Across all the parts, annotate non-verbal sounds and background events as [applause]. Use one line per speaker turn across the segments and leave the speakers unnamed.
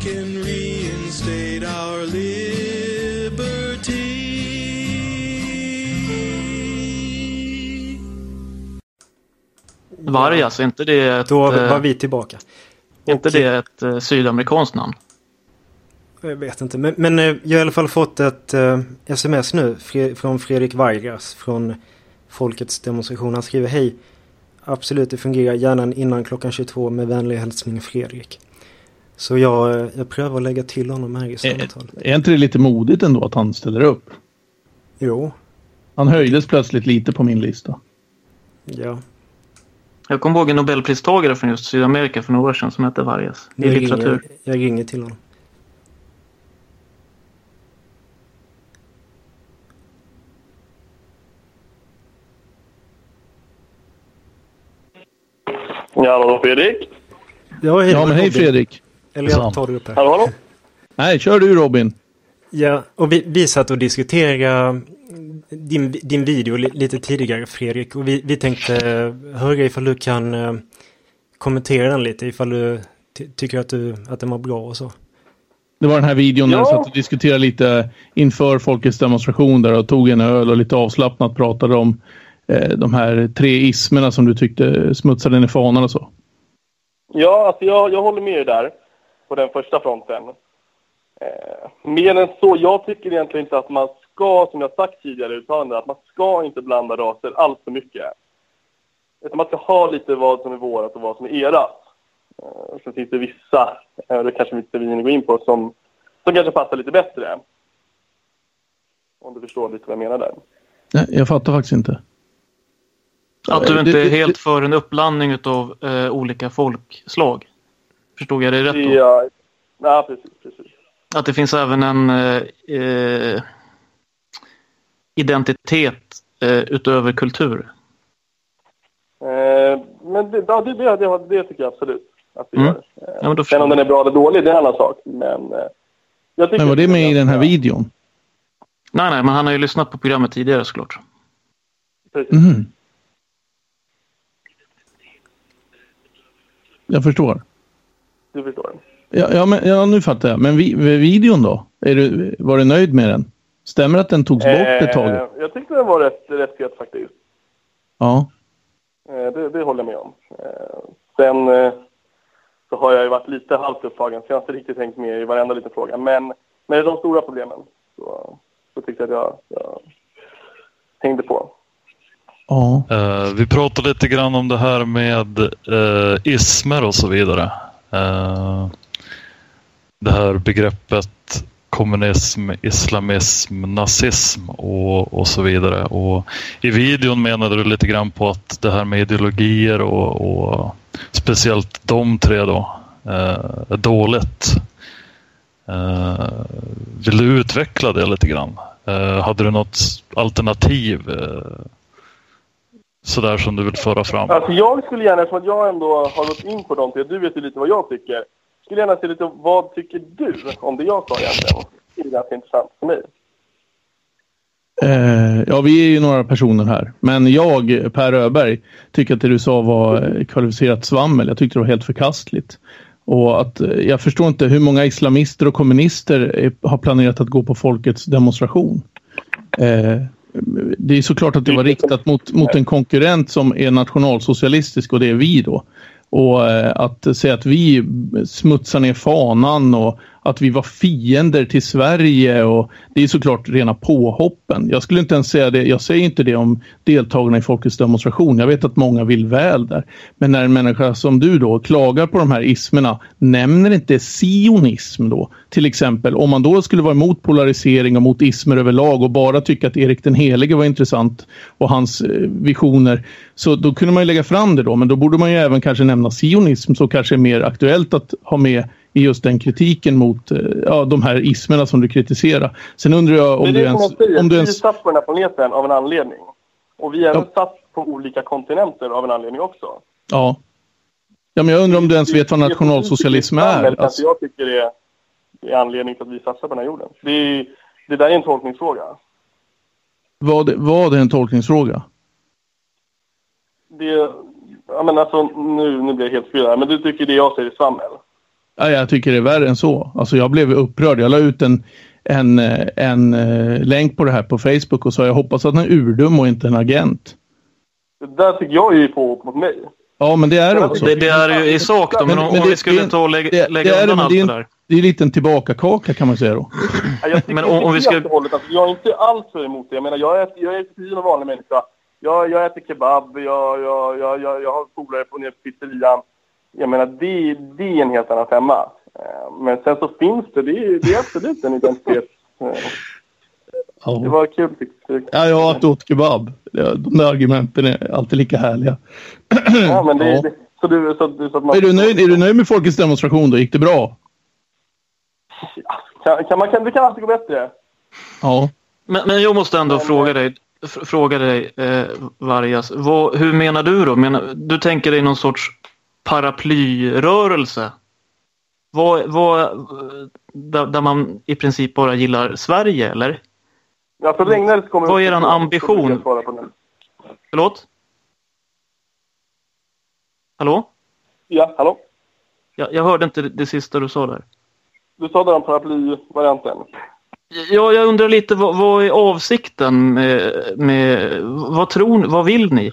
can reinstate our liberty.
Varg alltså, inte det ett,
Då
eh,
var vi tillbaka.
inte det ett eh, sydamerikanskt namn?
Jag vet inte. Men, men eh, jag har i alla fall fått ett eh, sms nu fre, från Fredrik Vargas från Folkets demonstration. Han skriver hej. Absolut, det fungerar. Hjärnan innan klockan 22 med vänlig hälsning Fredrik. Så jag, eh, jag prövar att lägga till honom här i
Eh,
Är,
samtalet.
Eh, är inte det lite modigt ändå att han ställer upp?
Jo,
Han höjdes plötsligt lite på min lista.
ja.
Jag kommer ihåg en nobelpristagare från just Sydamerika för några år sedan som hette Vargas. I
Jag ringer,
litteratur.
jag ringer till honom.
Ja, hallå Fredrik.
Ja, hej,
Ja, men hej
Robin.
Fredrik.
Eller jag tar det upp här.
Hallå, hallå.
Nej, kör du Robin.
Ja, och vi, vi satt och diskuterade din, din video li, lite tidigare Fredrik och vi, vi tänkte eh, höra ifall du kan eh, kommentera den lite ifall du ty, tycker att, du, att den var bra och så.
Det var den här videon där
Ja.
vi satt och diskuterade lite inför folkets demonstration där och tog en öl och lite avslappnat pratade om eh, de här tre ismerna som du tyckte smutsade ner fanan och så.
Ja, alltså jag, jag håller med dig där på den första fronten. Eh, mer än så, jag tycker egentligen inte att man ska, som jag sagt tidigare i uttalandet, att man ska inte blanda raser allt för mycket. Utan man ska ha lite vad som är vårat och vad som är erat. Eh, sen finns det vissa, eh, det kanske inte vi hinner gå in på, som, som kanske passar lite bättre. Om du förstår lite vad jag menar där.
Nej, jag fattar faktiskt inte.
Att du inte
Det-
är
det-
helt för en uppblandning av eh, olika folkslag. Förstod jag dig rätt då?
Ja, ja precis, precis.
Att det finns även en eh, eh, identitet eh, utöver kultur.
Eh, men det, ja, det, det, det, det tycker jag absolut att vi
Mm.
gör.
Ja, men då
Sen om
förstår
den är bra eller dålig, det är en annan sak. Men, eh, jag tycker
Men var det med i den här videon?
Nej, nej, men han har ju lyssnat på programmet tidigare såklart.
Precis.
Mhm. Jag förstår.
Du förstår.
Ja, ja, men, ja, nu fattar jag. Men vi, videon då? Är du, var du nöjd med den? Stämmer att den togs bort ett tag?
Eh, jag tyckte den var rätt, rätt fet faktiskt.
Ja.
Eh, det, det håller jag med om. Eh, sen eh, så har jag ju varit lite halvt upptagen, så jag har inte riktigt hängt med i varenda liten fråga. Men med de stora problemen så, så tyckte jag att jag, jag hängde på.
Ja.
Eh, vi pratade lite grann om det här med eh, ismer och så vidare. Eh, det här begreppet kommunism, islamism, nazism och, och så vidare. Och I videon menade du lite grann på att det här med ideologier och, och speciellt de tre då eh, är dåligt. Eh, vill du utveckla det lite grann? Eh, hade du något alternativ? Eh, sådär som du vill föra fram.
Alltså jag skulle gärna, eftersom att jag ändå har gått in på dem, du vet ju lite vad jag tycker. Skulle gärna se lite, vad tycker du om det jag sa egentligen? Det är ganska intressant för mig.
Eh, ja, vi är ju några personer här. Men jag, Per Öberg, tycker att det du sa var eh, kvalificerat svammel. Jag tyckte det var helt förkastligt. Och att, eh, jag förstår inte hur många islamister och kommunister eh, har planerat att gå på folkets demonstration. Eh, det är såklart att det var riktat mot, mot en konkurrent som är nationalsocialistisk och det är vi då. Och eh, att säga att vi smutsar ner fanan och att vi var fiender till Sverige och det är såklart rena påhoppen. Jag skulle inte ens säga det, jag säger inte det om deltagarna i Folkets demonstration. Jag vet att många vill väl där. Men när en människa som du då klagar på de här ismerna, nämner inte sionism då? Till exempel, om man då skulle vara emot polarisering och mot ismer överlag och bara tycka att Erik den helige var intressant och hans eh, visioner, så då kunde man ju lägga fram det då. Men då borde man ju även kanske nämna sionism som kanske är mer aktuellt att ha med i just den kritiken mot eh, ja, de här ismerna som du kritiserar. Sen undrar jag om
det
du
är det som
ens...
jag säger,
Om du
vi
ens
är satt på den här planeten av en anledning. Och vi är även
Ja.
satt på olika kontinenter av en anledning också.
ja. ja, men jag undrar om du ens
Det-
vet vad
det som vi
nationalsocialism
tycker är
är.
samhället,
Alltså,
Kanske jag tycker det är, det är anledning till att vi satsar på den här jorden. Det, är, det där är en tolkningsfråga.
var, det, var det en tolkningsfråga?
Det, jag menar, alltså, nu, nu blir jag helt förvirrad här, men du tycker det jag säger är svammel.
Ja, jag tycker det är värre än så. Alltså jag blev upprörd. Jag la ut en, en, eh, en eh, länk på det här på Facebook och sa jag hoppas att den är urdum och inte en agent.
Det där tycker jag är ju påhopp mot mig.
Ja, men det är det också.
Det, det är ju i sak då, men,
Men-
om,
men
om
det-
vi skulle
det-
ta och
Det,
lägga,
det,
lägga
är det,
undan
men
allt
det
det
är, en,
där.
det är en liten tillbakakaka kan man säga då.
Nej, Jag tycker
Men om-
inte
om vi
helt
skulle-
och hållet. Alltså, jag är inte alls för emot det. Jag menar, jag äter, jag äter precis som en vanlig människa. Jag, jag äter kebab, jag, jag, jag, jag, jag har polare på nere på pizzerian. Jag menar, det, det är en helt annan femma. Eh, Men sen så finns det, det är, det är absolut en identitet. Eh, Det var kul tycker
Ja, ja, att du åt kebab. Ja, De där argumenten är alltid lika härliga.
Ja, men det,
Ja.
det, så du, så, att- så att man,
Är du nöjd, är du nöjd med folkets demonstration då? Gick det bra?
Kan, kan man, kan, det kan alltid gå bättre.
Ja.
Men, men jag måste ändå
Men-
fråga dig, fr- fråga dig eh, Vargas. Vad, hur menar du då? Menar, du tänker dig någon sorts paraplyrörelse? Vad, vad, eh, där, där man i princip bara gillar Sverige, eller?
Ja, för regnar det så kommer
Vad är eran ambition?
Jag svara på den.
Förlåt? Hallå?
Ja, hallå?
Jag, jag hörde inte det, det sista du sa där.
Du sa där om paraplyvarianten.
Ja, jag undrar lite, vad, vad är avsikten med, med... Vad tror ni? Vad vill ni?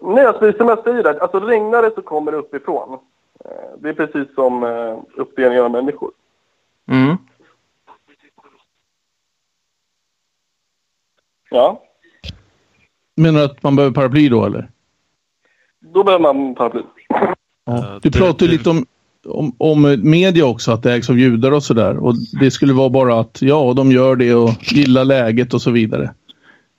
Nej, alltså, det är som jag säger, där, alltså, regnar det så kommer det uppifrån. Eh, Det är precis som eh, uppdelningen av människor.
Mm.
Ja,
Menar du att man behöver paraply då eller?
då behöver man paraply.
Ja.
Eh,
Du
det-
pratar ju
det-
lite om, om, om eh, media också, att det ägs av judar och sådär. Och det skulle vara bara att ja, de gör det och gillar läget och så vidare.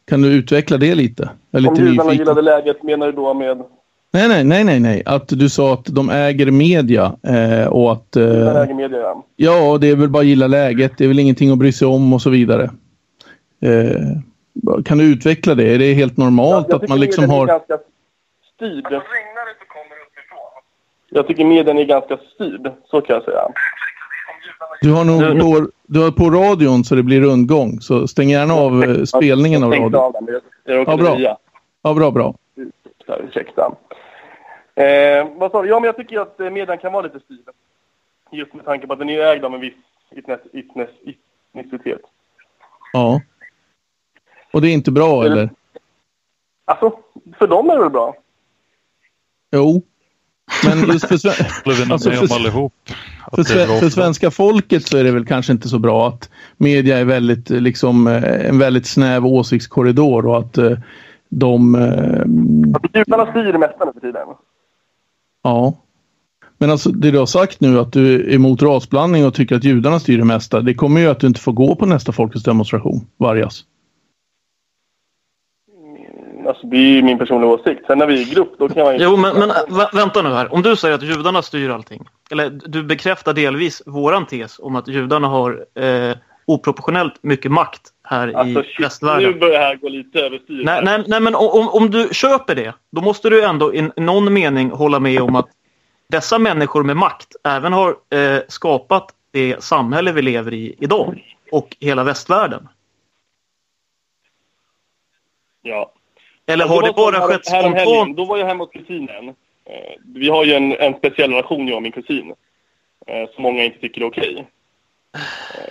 Kan du utveckla det lite? Jag är
Om
lite
judarna
nyfiken.
gillade läget menar du då med
Nej, nej, nej, nej, nej. Att du sa att de äger media eh, och att
den
eh,
äger media? ja.
ja, det är väl bara gilla läget. Det är väl ingenting att bry sig om och så vidare. Eh, kan du utveckla det? Är det helt normalt
Jag
att
tycker
man liksom
medien är
har...
ganska styrd. regnar det Alltså, så kommer det uppifrån. Jag tycker medien är ganska styrd, så kan jag säga.
Du har nog
Nu- nu-
på, du har på radion så det blir rundgång. Så stäng gärna av eh, spelningen av
Alltså, Jag tänkte
radion.
av den, men jag- Jag
Ja,
råkade
bra.
lia.
Ja, bra, bra.
Så här, ursäkta. Eh, vad sa du? Ja, men jag tycker att eh, medien kan vara lite stil. Just med tanke på att den är ägd av en viss etnes- etnes- etnicitet.
Ja. Och det är inte bra
Är det-
eller?
Alltså, för dem är det väl bra?
Jo. Men just för, sve-
[laughs] håller vi nog
Alltså,
med
för-
om allihop. Att
för,
det är
sve-
bra
för
för dem.
svenska folket så är det väl kanske inte så bra att media är väldigt, eh, liksom, eh, en väldigt snäv åsiktskorridor och att eh, de... eh,
Alltså, Judarna styr det mesta nu för tiden.
Ja. Men alltså det du har sagt nu att du är emot rasblandning och tycker att judarna styr det mesta. Det kommer ju att du inte får gå på nästa folkets demonstration, Vargas.
Alltså, det är ju min personliga åsikt. Sen när vi är i grupp, då kan man ju...
Jo, men, men vä- vänta nu här. Om du säger att judarna styr allting. Eller du bekräftar delvis våran tes om att judarna har eh, oproportionellt mycket makt här i
Alltså, shit,
västvärlden.
nu börjar det här gå lite överstyr.
Nej, nej, nej, men o- om, om du köper det, då måste du ändå i någon mening hålla med om att dessa människor med makt även har eh, skapat det samhälle vi lever i idag och hela västvärlden.
Ja.
Eller
Ja,
har det
var
bara
så här-
skett
häromhelgen.
spontant?
Då var jag hemma hos kusinen. Eh, Vi har ju en, en speciell relation, jag och min kusin. eh, Som många inte tycker är okej.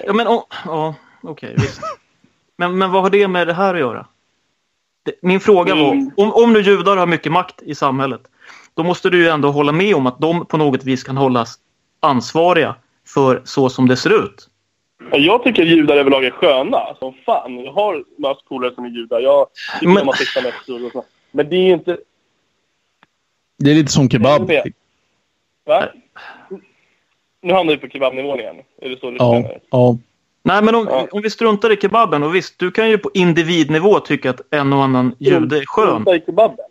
Ja, men oh, ja, okej, visst. Men, men vad har det med det här att göra? Det, min fråga var,
Mm.
om, om nu judar har mycket makt i samhället, då måste du ju ändå hålla med om att de på något vis kan hållas ansvariga för så som det ser ut.
Jag tycker judar överlag är sköna som fan. Jag har massa polare som är judar. Jag tycker
Men-
de har fixa läxor och så. Men det är ju inte...
Det är lite som
Jag
kebab.
håller med. Va? Nu hamnar vi på kebabnivån igen. Är det så du
Ja,
känner?
ja.
Nej, men om,
Ja.
om vi struntar i kebaben, och visst, du kan ju på individnivå tycka att en och annan jude är skön.
Strunta i kebaben.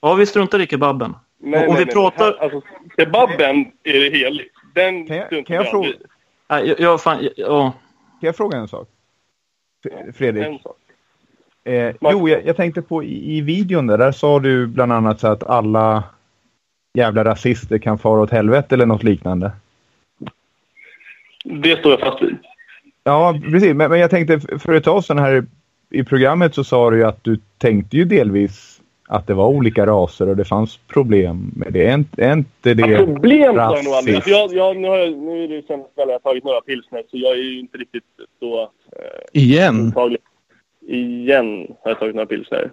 Ja, vi struntar i kebaben.
Nej,
Om
nej,
vi
nej.
pratar-
Här- Alltså, kebaben är det heligt. Den
Kan jag-
struntar
kan jag
i.
fråga-
Nej, jag, jag, fan, jag, ja.
Kan jag fråga en sak? F- Fredrik?
En sak.
Eh, jo, jag, jag tänkte på i, i videon där, där sa du bland annat så att alla jävla rasister kan fara åt helvete eller något liknande.
Det står jag fast vid.
Ja, precis. Men, men jag tänkte f- för ett tag sedan här i, i programmet så sa du ju att du tänkte ju delvis att det var olika raser och det fanns problem med det. Är inte, är inte det
Ja, problem sa jag nog aldrig.
rasism?
Alltså, jag, jag, nu har jag, nu är det ju sen väl jag har tagit några pilsner så jag är ju inte riktigt så
Mm.
Igen?
mottaglig. Igen har jag tagit några pilsner.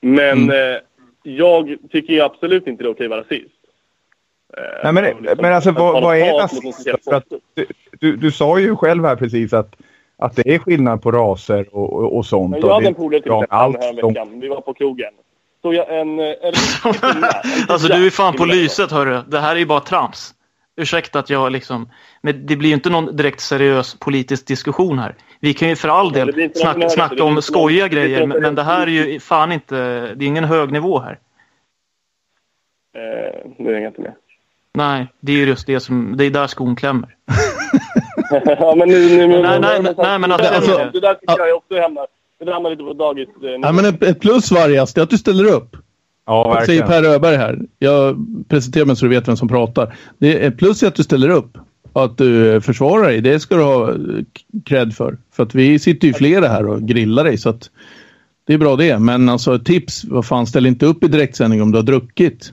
Men
Mm.
eh, jag tycker ju absolut inte det är okej att vara rasist. Eh,
Nej, men,
och liksom
men alltså
att
vad,
tala
vad är
hat mot någon
rasism?
speciell
För att
folkgrupp.
du, du, du sa ju själv här precis att, att det är skillnad på raser och, och, och sånt.
Men
och
jag hade
det-
en polare till
ja,
exempel
allt
den här
som-
veckan. Vi var på krogen. Så jag en... eh, en, en
[laughs] Alltså du är fan på lyset hörru. Det här är ju bara trams. Ursäkta att jag liksom... Men det blir ju inte någon direkt seriös politisk diskussion här. Vi kan ju för all
det blir
del
inte någon
snacka,
som hör det.
snacka
Det blir
om
inte
skojiga
någon- det blir
grejer.
inte
Men,
någon-
men det här är ju fan inte... Det är ingen hög nivå här.
Eh, nu hänger jag inte med.
Nej, det är ju just det som... Det är där skon klämmer.
[laughs] ja, men nu, nu, nu,
Nej, nej, nej, nej, men alltså-
det, där- det där tycker jag också hamnar... Det hamnar lite på dagis... Eh,
Ja, men ett, ett plus Vargas, det är att du ställer upp.
Ja,
Säger
verkligen.
Per Öberg här. Jag presenterar mig så du vet vem som pratar. Det är ett plus är att du ställer upp. Att du eh, försvarar dig, det ska du ha eh, k- cred för. För att vi sitter ju flera här och grillar dig så att det är bra det. Men alltså ett tips, vad fan ställ inte upp i direktsändning om du har druckit.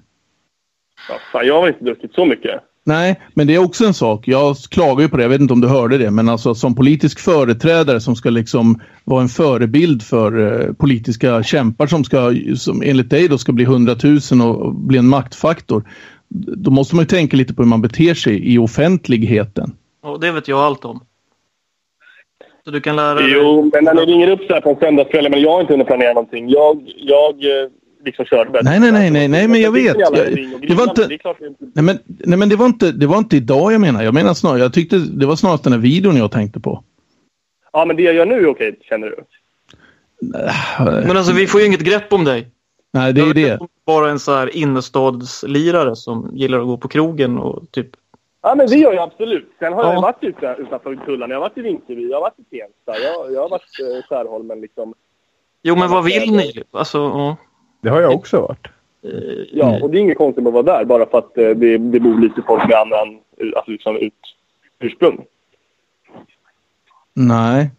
Ja, fan, jag har inte druckit så mycket.
Nej, men det är också en sak. Jag klagar ju på det, jag vet inte om du hörde det, men alltså som politisk företrädare som ska liksom vara en förebild för eh, politiska kämpar som ska, som enligt dig då ska bli hundratusen och och bli en maktfaktor. Då måste man ju tänka lite på hur man beter sig i offentligheten.
Och det vet jag allt om. Så du kan lära dig.
Jo, men när ni ringer upp så här på en söndagskväll, men jag har inte hunnit planera någonting. Jag, jag eh, liksom körde bara.
Nej, nej, nej, nej, nej, men jag
sitter
vet.
ni alla
Jag-
i ring och
det var inte-
grillar, men Det är klart det inte...
Nej men, nej, men det, var inte, det var inte idag jag menar. Jag menar snarare, jag tyckte det var snarast den här videon jag tänkte på.
Ja, men det jag gör nu är okej, känner du?
Men alltså vi får ju inget grepp om dig.
Nej, det är ju
Jag
det.
vet inte Bara en så här innerstadslirare som gillar att gå på krogen och typ...
Ja, men det gör jag absolut. Sen har
Ja.
jag ju varit ute, utanför Kullarna. Jag har varit i Rinkeby, jag har varit i Tensta, jag, jag har varit i eh, Skärholmen liksom.
Jo, men vad vill ni? Alltså, ja.
Det har jag också varit.
Ja,
Nej.
och det är inget konstigt med att vara där bara för att eh, det, det bor lite folk med annan alltså, liksom, ut, ursprung.
Nej.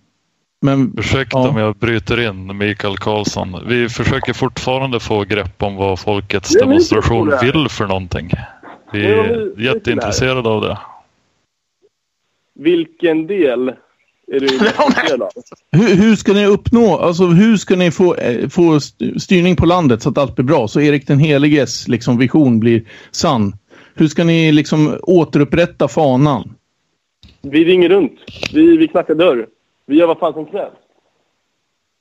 Men
Ursäkta
Ja.
om jag bryter in, Mikael Karlsson. Vi försöker fortfarande få grepp om vad folkets
Det är min
demonstration
historia.
vill för någonting. Vi
Det var
är
min- det är
jätteintresserade av det.
Vilken del
[laughs]
är du intresserad av?
Hur, hur ska ni uppnå, alltså hur ska ni få, eh, få st- styrning på landet så att allt blir bra? Så Erik den heliges liksom, vision blir sann. Hur ska ni liksom återupprätta fanan?
Vi ringer runt. Vi, vi knackar dörr. Vi gör vad fan som krävs.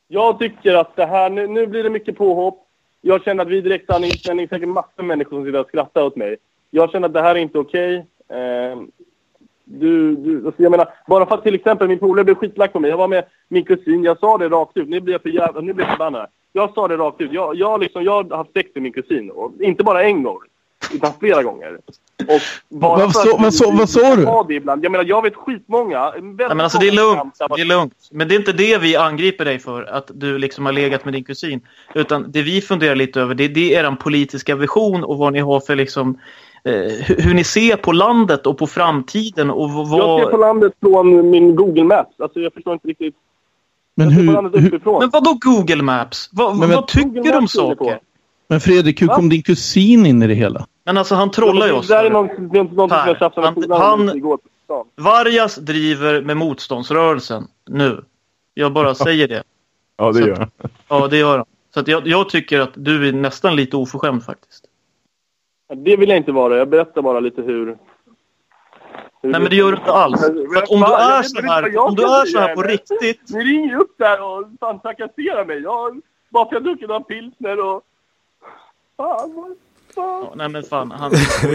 Jag tycker att det här... Nu, nu blir det mycket påhopp. Jag känner att vi direkt har en inställning. Säkert massor av människor som sitter och skrattar åt mig. Jag känner att det här är inte okej. Eh, du, du, alltså jag menar, bara för att till exempel min polare blev skitlack på mig. Jag var med min kusin. Jag sa det rakt ut. Nu blir jag för jävla... Nu blir jag förbannad. Jag sa det rakt ut. Jag, jag, liksom, jag har haft sex med min kusin. Och inte bara en gång. Utan flera gånger. Och bara
Vad
för
sa-
att
vad sa-
vi-
vad sa du?
ha det ibland. Jag menar, jag vet skitmånga. Väldigt
Nej, men alltså det är
många
lugnt.
som-
Det är lugnt. Men det är inte det vi angriper dig för, att du liksom har legat med din kusin. Utan det vi funderar lite över, det är, det är er politiska vision och vad ni har för liksom... Eh, hur, hur ni ser på landet och på framtiden och v-
Jag ser på
vad...
landet från min Google Maps. Alltså jag förstår inte riktigt.
Men,
Jag ser på landet
hur, hur,
uppifrån.
Men vadå Google Maps? Vad, vad
Men vad-
Google
tycker du om
Maps håller på.
saker?
men Fredrik, hur
Va?
kom din kusin in i det hela?
Men alltså han trollar ju oss.
Det där är
hörru.
någonting någon, någon som
Per,
jag tjafsade med
han-
polaren om
han-
igår på stan.
Vargas driver med motståndsrörelsen nu. Jag bara säger det.
Ja, det
Så-
gör jag. [laughs]
Ja, det gör han. Så att jag, jag tycker att du är nästan lite oförskämd faktiskt.
Det vill jag inte vara. Jag berättar bara lite hur... hur
Nej, men det gör du inte alls. För att om du
Fan, jag
är
vet
så
inte vad
här,
jag
om du
kan
är så
säga,
här på
eller?
riktigt.
Ni ringer ju upp där och fan trakasserar mig. Jag, bara för att jag druckit några pilsner och... Fan, vad fan.
Ja, nej, men fan. [laughs] Han, Alltså,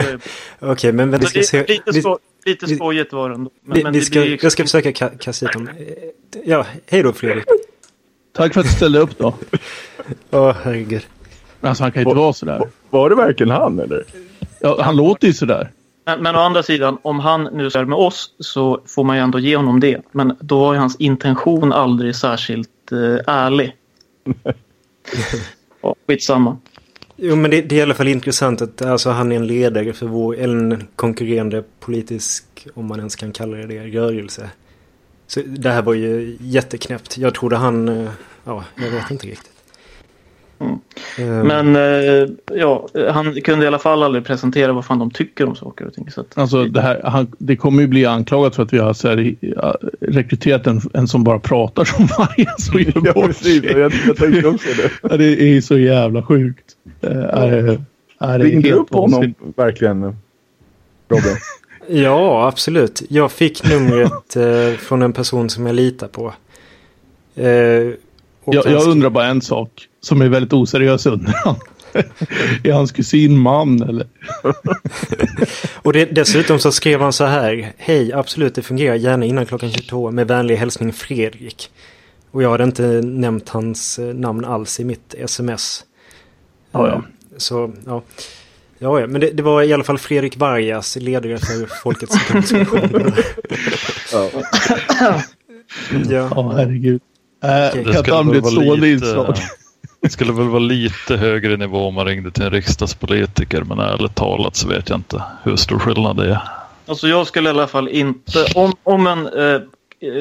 Okej, men, men vi ska
det,
se.
är lite,
Vi,
sko, lite
vi-
skojigt var det ändå. Men,
vi,
men
vi
det
ska,
blir ju-
jag ska försöka ka- kasta hit dem. Eh, Ja, hej då Fredrik.
Tack för att du ställde upp då.
Åh, herregud.
Alltså han kan ju inte vara sådär.
Var det verkligen han eller?
Ja, han låter ju sådär.
men, men å andra sidan, om han nu är med oss så får man ju ändå ge honom det. Men då var ju hans intention aldrig särskilt eh, [laughs] ärlig. Ja, skitsamma.
Jo, men det, det är i alla fall intressant att alltså, han är en ledare för vår, eller en konkurrerande politisk, om man ens kan kalla det det, rörelse. Så det här var ju jätteknäppt. Jag trodde han, eh, ja, jag vet inte riktigt. Eh,
Mm. Men eh, ja, han kunde i alla fall aldrig presentera vad fan de tycker om saker och ting. Så att,
Alltså det, här, han, det kommer ju bli anklagat för att vi har så här, ja, rekryterat en, en som bara pratar som [laughs] vargen som gör
Ja,
bort
precis.
sig.
Jag,
[laughs]
jag tänkte också det.
Ja, det är så jävla sjukt. Eh, är, är det är
Ringde du
helt
upp honom
vansinnigt.
verkligen? Robin?
Ja, absolut. Jag fick numret eh, från en person som jag litar på. Eh, och
Jag,
han
jag
skrev-
undrar bara en sak som är väldigt oseriös undran. [laughs] är hans kusin man eller?
Och det, dessutom så skrev han så här. Hej, absolut det fungerar gärna innan klockan 22 med vänlig hälsning Fredrik. Och jag hade inte nämnt hans eh, namn alls i mitt sms.
Ja, ja.
Eh, Så, ja. Ja, ja, men det, det var i alla fall Fredrik Vargas, ledare för Folkets demonstration.
Ja.
ja.
Ja, herregud.
Okej.
Äh,
Det
kan inte
skulle
han bli
väl
ett
vara
slående
lite-
inslag?
[laughs] Det skulle väl vara lite högre nivå om man ringde till en riksdagspolitiker, men ärligt talat så vet jag inte hur stor skillnad det är.
alltså jag skulle i alla fall inte... Om, om en, eh, eh,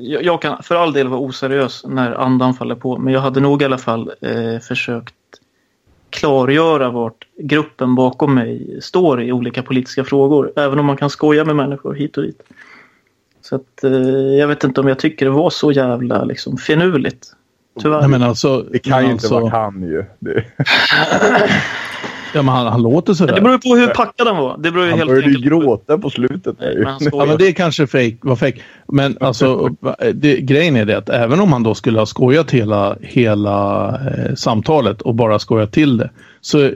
jag jag kan för all del vara oseriös när andan faller på, men jag hade nog i alla fall eh, försökt klargöra vart gruppen bakom mig står i olika politiska frågor. Även om man kan skoja med människor hit och dit. Så att, eh, jag vet inte om jag tycker det var så jävla liksom, finurligt. Tyvärr.
Nej, men alltså,
Det kan
men
ju inte
alltså,
vara han ju. Det,
ja, men han, han låter
Men
sådär.
det beror ju på hur packad han var. Det beror ju
han
helt
började ju
enkelt på-
gråta på slutet. där
Nej,
ju.
men han
Ja, men
skojar.
det kanske fake, var fake. Men alltså, det, grejen är det att även om han då skulle ha skojat hela, hela eh, samtalet och bara skojat till det. Så eh,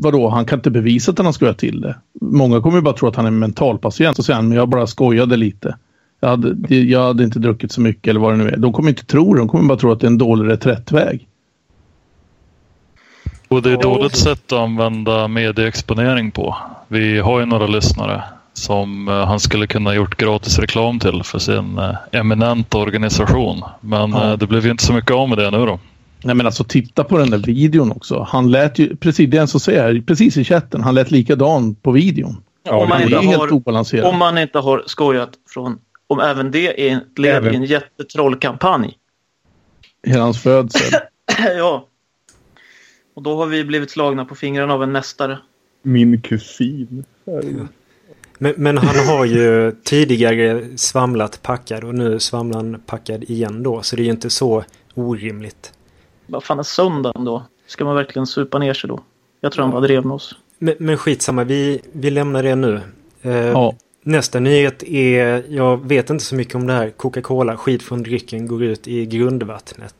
vadå, han kan inte bevisa att han har skojat till det. Många kommer ju bara tro att han är en mentalpatient och säga men jag bara skojade lite. Jag hade, det- jag hade inte druckit så mycket eller vad det nu är. De kommer inte tro det, de kommer bara tro att det är en dålig reträttväg.
Och det är ett dåligt sätt att använda medieexponering på. Vi har ju några lyssnare som eh, han skulle kunna ha gjort gratis reklam till för sin eh, eminenta organisation. Men eh, det blev ju inte så mycket av med det nu då.
Nej men alltså titta på den där videon också. Han lät ju, precis det är en som säger, här, precis i chatten, han lät likadan på videon.
om, man
Han är
inte
ju helt
har,
obalanserad.
om man inte har skojat från... Om även det är ett led i en jättetrollkampanj. [clears throat]
Hela hans födsel.
ja. Och då har vi blivit slagna på fingrarna av en mästare.
Min kusin.
men, men han har ju tidigare svamlat packad och nu svamlar han packad igen då. Så det är ju inte så orimligt.
Vad fan är söndagen då? Ska man verkligen supa ner sig då? Jag tror han bara drev med oss.
Men, men skitsamma, vi, vi lämnar det nu. Eh,
Ja.
Nästa nyhet är, jag vet inte så mycket om det här, Coca-Cola, skit från drycken, går ut i grundvattnet.